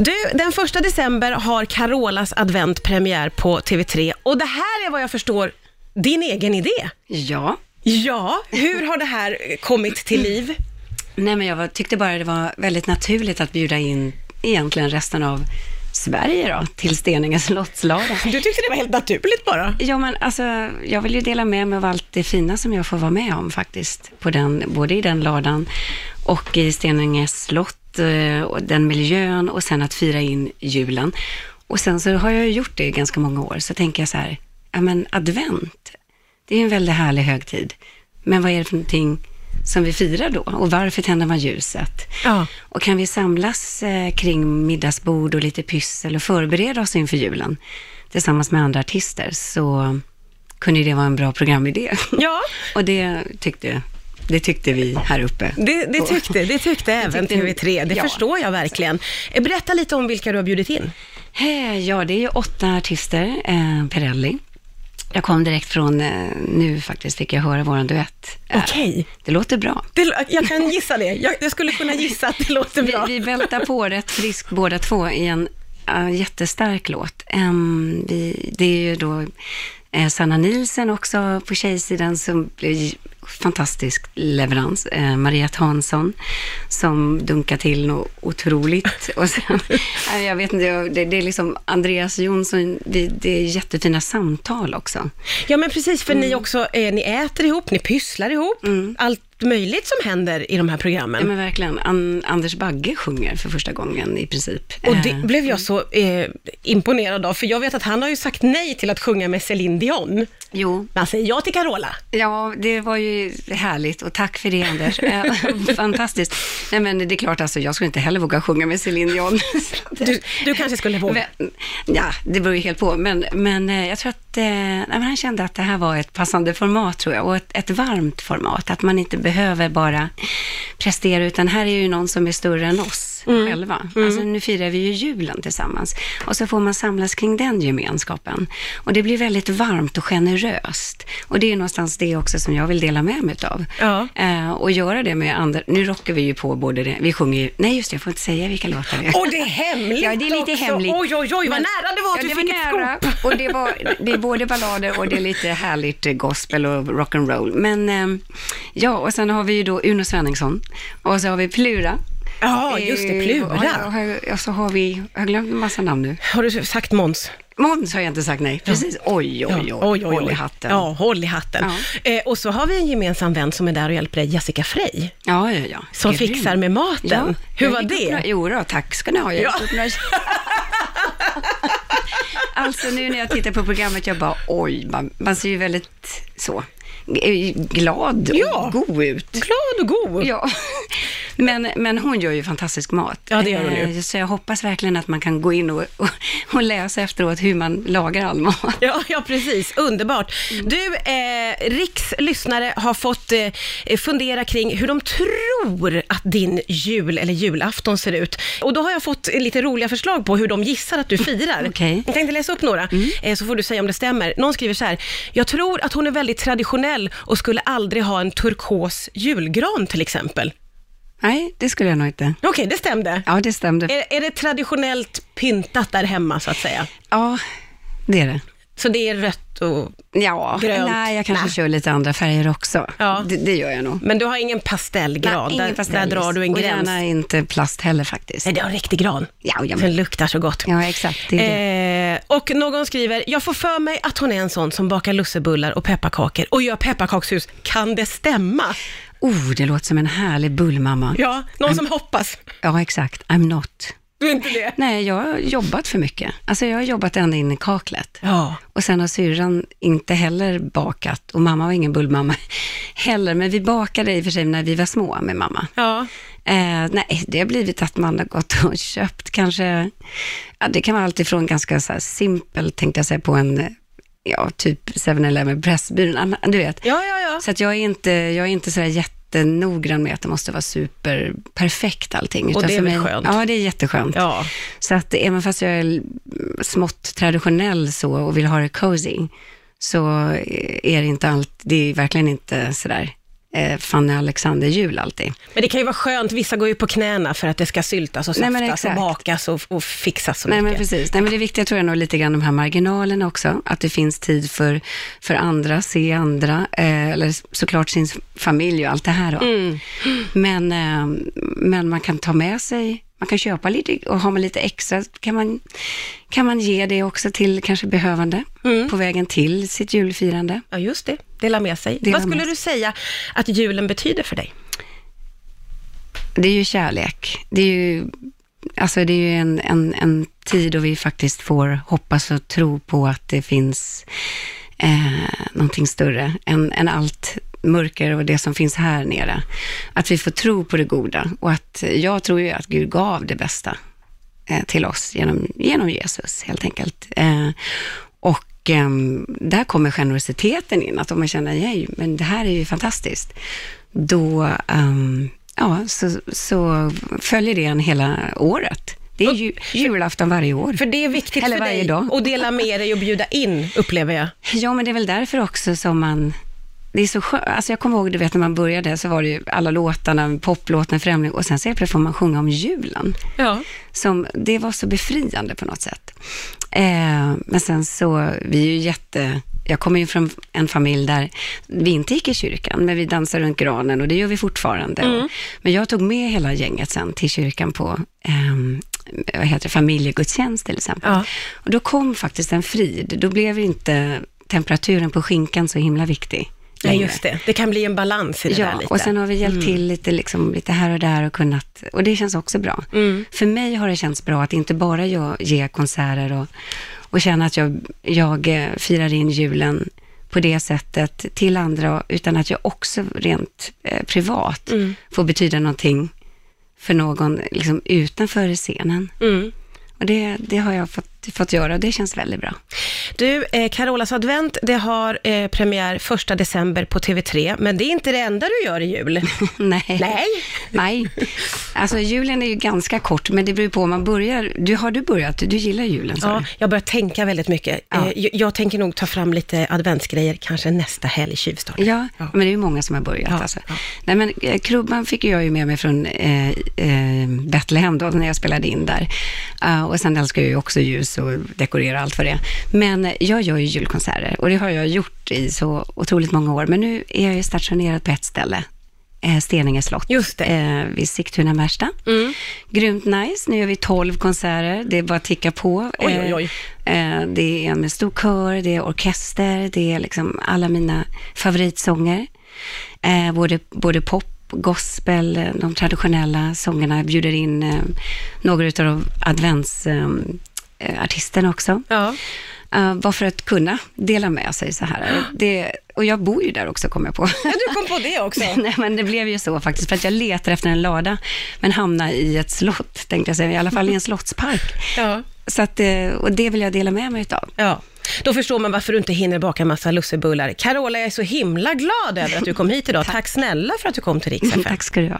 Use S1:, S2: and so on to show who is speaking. S1: Du, den första december har Carolas advent premiär på TV3 och det här är vad jag förstår din egen idé.
S2: Ja.
S1: Ja, hur har det här eh, kommit till liv?
S2: Nej, men jag var, tyckte bara det var väldigt naturligt att bjuda in egentligen resten av Sverige då, till Steninges lottslada.
S1: Du tyckte det var helt naturligt bara.
S2: Ja, men alltså, jag vill ju dela med mig av allt det fina som jag får vara med om faktiskt, på den, både i den ladan och i Steninges slott, eh, och den miljön och sen att fira in julen. Och sen så har jag ju gjort det i ganska många år, så tänker jag så här, ja men advent, det är ju en väldigt härlig högtid, men vad är det för någonting som vi firar då och varför tänder man ljuset?
S1: Ja.
S2: Och kan vi samlas eh, kring middagsbord och lite pyssel och förbereda oss inför julen tillsammans med andra artister så kunde ju det vara en bra programidé.
S1: Ja,
S2: och det tyckte, det tyckte vi här uppe.
S1: det, det tyckte, det tyckte även
S2: tyckte-
S1: TV3, det
S2: ja.
S1: förstår jag verkligen. Eh, Berätta lite om vilka du har bjudit in.
S2: Eh, Ja, det är ju åtta artister, eh, Perrelli. Jag kom direkt från, eh, nu faktiskt fick jag höra våran duett. Eh,
S1: Okej.
S2: Det låter bra.
S1: Det, lå- jag kan gissa det, jag, jag skulle kunna gissa att det låter bra.
S2: Vi, vi vältar på rätt friskt båda två i en ja, jättestark låt. Ehm, vi, det är ju då eh, Sanna Nielsen också på tjejsidan som blev fantastisk leverans. Eh, Mariette Hansson som dunkar till något otroligt. Och sen, nej, jag vet inte, jag- det, det är liksom Andreas Jonsson, vi, det är jättefina samtal också.
S1: Ja men precis, för ni också, eh, ni äter ihop, ni pysslar ihop, allt möjligt som händer i de här programmen.
S2: Ja, men verkligen, An, Anders Bagge sjunger för första gången i princip.
S1: Och
S2: Eh,
S1: det blev jag så eh, imponerad av, för jag vet att han har ju sagt nej till att sjunga med Céline Dion. Men
S2: jo,
S1: han säger ja till Carola.
S2: Ja, det var ju härligt och tack för det Anders. Eh, Fantastiskt. Nej men det är klart, alltså, jag skulle inte heller våga sjunga med Céline Dion.
S1: Du, du kanske skulle våga.
S2: Men- Ja, det beror ju helt på. Men, men eh, jag tror att eh, nej, men han kände att det här var ett passande format tror jag. Och ett, ett varmt format. Att man inte behöver bara prestera, utan här är ju någon som är större än oss själva. Alltså nu firar vi ju julen tillsammans. Och så får man samlas kring den gemenskapen. Och det blir väldigt varmt och generöst. Och det är någonstans det också som jag vill dela med mig av.
S1: Ja.
S2: Eh, och göra det med andra. Nu rockar vi ju på både det, vi sjunger ju, nej just det, jag får inte säga vilka låtar det är.
S1: Och det är hemligt
S2: Ja, det är lite
S1: också.
S2: hemligt.
S1: Oj, oj, oj, vad
S2: Men-
S1: nära det var att du
S2: det
S1: fick
S2: var
S1: ett
S2: nära.
S1: scoop.
S2: Och det, var, det är både ballader och det är lite härligt eh, gospel och rock'n'roll. Men ehm, ja, och sen har vi ju då Uno Svenningsson och så har vi Plura.
S1: Ja, just det,
S2: Eh,
S1: Plura.
S2: Och, och, och så har vi, jag har glömt en massa namn nu.
S1: Har du sagt Måns?
S2: Måns har jag inte sagt nej, precis. Oj, oj, oj,
S1: Ja,
S2: håll i hatten.
S1: Ja, håll i hatten. Eh, och så har vi en gemensam vän som är där och hjälper dig, Jessica Frey,
S2: ja, ja, ja.
S1: som
S2: Grym.
S1: fixar med maten.
S2: Ja,
S1: Hur
S2: jag
S1: var
S2: gick upp Några,
S1: det?
S2: jo då, tack ska ni ha. Jag
S1: Ja.
S2: gick upp några... Alltså nu när jag tittar på programmet, jag bara oj, man, man ser ju väldigt så g- glad och
S1: Ja.
S2: god ut.
S1: Glad och god.
S2: Ja. Men, men hon gör ju fantastisk mat.
S1: Ja, det gör hon ju.
S2: Eh, Så jag hoppas verkligen att man kan gå in och, och, och läsa efteråt hur man lagar all mat.
S1: Ja, ja precis. Underbart.
S2: Mm.
S1: Du, eh, Riks lyssnare har fått eh, fundera kring hur de tror att din jul eller julafton ser ut. Och då har jag fått eh, lite roliga förslag på hur de gissar att du firar.
S2: Okej. Mm.
S1: Jag tänkte läsa upp några, eh, så får du säga om det stämmer. Någon skriver så här, jag tror att hon är väldigt traditionell och skulle aldrig ha en turkos julgran till exempel.
S2: Nej, det skulle jag nog inte.
S1: Okej, det stämde.
S2: Ja, det stämde.
S1: Är, är det traditionellt pyntat där hemma så att säga?
S2: Ja, det är det.
S1: Så det är rött och...
S2: Ja,
S1: Grönt.
S2: nej, jag kanske
S1: Nej.
S2: kör lite andra färger också.
S1: Ja.
S2: Det, det gör jag nog.
S1: Men du har ingen pastellgran,
S2: Nej, ingen
S1: där,
S2: pastellis.
S1: där drar du en
S2: Och
S1: gräns.
S2: gärna inte plast heller faktiskt.
S1: Nej, det är en riktig gran.
S2: Ja, ja, men-
S1: Den luktar så gott.
S2: Ja, exakt. Det är det.
S1: Eh, och någon skriver, jag får för mig att hon är en sån som bakar lussebullar och pepparkakor och gör pepparkakshus. Kan det stämma?
S2: Oh, det låter som en härlig bullmamma.
S1: Ja, någon som hoppas.
S2: Ja, exakt. I'm not.
S1: Du är inte det?
S2: Nej, jag har jobbat för mycket. Alltså jag har jobbat ända in i kaklet.
S1: Ja.
S2: Och sen har syrran inte heller bakat och mamma var ingen bullmamma heller. Men vi bakade i och för sig när vi var små med mamma.
S1: Ja.
S2: Eh, nej, det har blivit att man har gått och köpt kanske, ja, det kan vara alltifrån ganska så här simpel, tänkte jag säga, på en, eh, ja, typ 7-Eleven, Pressbyrån, annan- du vet.
S1: Ja, ja, ja.
S2: Så att jag är inte, jag är inte sådär jättenoggrann med att det måste vara superperfekt allting.
S1: Och det är
S2: för
S1: väl
S2: mig-
S1: skönt?
S2: Ja, det är jätteskönt.
S1: Ja.
S2: Så att även fast jag är l- smått traditionell så och vill ha det cozy, så eh, är det inte allt, det är verkligen inte sådär eh, Fanny Alexander-jul alltid.
S1: Men det kan ju vara skönt, vissa går ju på knäna för att det ska syltas och
S2: Nej, men
S1: saftas och
S2: exakt.
S1: bakas och, och fixas så
S2: Nej, men
S1: mycket.
S2: precis. Nej, men det viktiga tror jag nog är lite grann de här marginalerna också, att det finns tid för, för andra, se andra, eh, eller såklart sin familj och allt det här. Då.
S1: Mm.
S2: Men, eh, men man kan ta med sig, man kan köpa lite och har man lite extra kan man, kan man ge det också till kanske behövande
S1: Mm.
S2: på vägen till sitt julfirande.
S1: Ja, just det. Dela med sig.
S2: Dela
S1: Vad skulle
S2: med
S1: du säga att julen betyder för dig?
S2: Det är ju kärlek. Det är ju, alltså det är ju en, en, en tid då vi faktiskt får hoppas och tro på att det finns eh, någonting större än, än allt mörker och det som finns här nere. Att vi får tro på det goda och att jag tror ju att Gud gav det bästa eh, till oss genom, genom Jesus helt enkelt. Eh, och ehm, där kommer generositeten in, att om man känner, nej, men det här är ju fantastiskt, då ehm, ja, så, så följer det en hela året. Det är ju, julafton varje år.
S1: För det är viktigt
S2: Eller
S1: för
S2: varje
S1: dig
S2: dag.
S1: att dela med dig och bjuda in, upplever jag.
S2: Ja, men det är väl därför också som man det är så skönt. Alltså jag kommer ihåg, du vet när man började så var det ju alla låtarna, poplåten, Främling och sen så helt plötsligt får man sjunga om julen.
S1: Ja.
S2: som, det var så befriande på något sätt. Eh, men sen så, vi är ju jätte, jag kommer ju från en familj där vi inte gick i kyrkan, men vi dansar runt granen och det gör vi fortfarande.
S1: Mm.
S2: Och, men jag tog med hela gänget sen till kyrkan på ehm, vad heter det, familjegudstjänst till exempel.
S1: Ja.
S2: Och då kom faktiskt en frid, då blev inte temperaturen på skinkan så himla viktig.
S1: ja,
S2: längre.
S1: just det. Det kan bli en balans i det där
S2: Ja,
S1: lite. Mm.
S2: och sen har vi hjälpt till lite, liksom, lite här och där och kunnat, och det känns också bra.
S1: Mm.
S2: För mig har det känts bra att inte bara jag ger konserter och, och känna att jag, jag eh, firar in julen på det sättet till andra, utan att jag också rent eh, privat
S1: Mm.
S2: får betyda någonting för någon liksom, utanför scenen.
S1: Mm.
S2: Och det, det har jag fått, fått göra och det känns väldigt bra.
S1: Du, eh, Carolas advent, det har eh, premiär 1 december på TV3, men det är inte det enda du gör i jul.
S2: Nej.
S1: Nej.
S2: Nej. Alltså julen är ju ganska kort, men det beror ju på om man börjar. Du, har du börjat? Du gillar julen, sa
S1: Ja,
S2: du?
S1: jag börjar tänka väldigt mycket.
S2: Ja.
S1: Eh, jag, jag tänker nog ta fram lite adventsgrejer, kanske nästa helg, Tjuvstart.
S2: Ja,
S1: Ja.
S2: men det är ju många som har börjat.
S1: Ja,
S2: alltså.
S1: ja.
S2: Nej, men eh, krubban fick ju jag ju med mig från eh, eh, Betlehem då, när jag spelade in där. Ah, och sen älskar jag ju också ljus och dekorera allt för det. Men eh, jag gör ju julkonserter och det har jag gjort i så otroligt många år. Men nu är jag ju stationerad på ett ställe, eh, Steninge slott.
S1: Just det. Mm.
S2: eh, vid Sigtuna Märsta. Grymt nice. Nu gör vi 12 konserter. Det är bara att ticka på.
S1: Oj, oj, oj.
S2: Eh, eh, det är en stor kör, det är orkester, det är liksom alla mina favoritsånger. Eh, både, både pop, gospel, eh, de traditionella sångerna. Jag bjuder in eh, några av adventsartisterna eh, artisterna också.
S1: Ja.
S2: Eh, bara för att kunna dela med sig så här. Det, och jag bor ju där också, kommer jag på.
S1: ja, du kom på det också.
S2: Nej, men det blev ju så faktiskt, för att jag letar efter en lada, men hamnar i ett slott, tänkte jag säga, i alla fall i en slottspark.
S1: Ja.
S2: Så att, eh, och det vill jag dela med mig utav.
S1: Ja, då förstår man varför du inte hinner baka en massa lussebullar. Carola, jag är så himla glad över att du kom hit idag. Tack, snälla för att du kom till Rix FM.
S2: Tack ska du ha.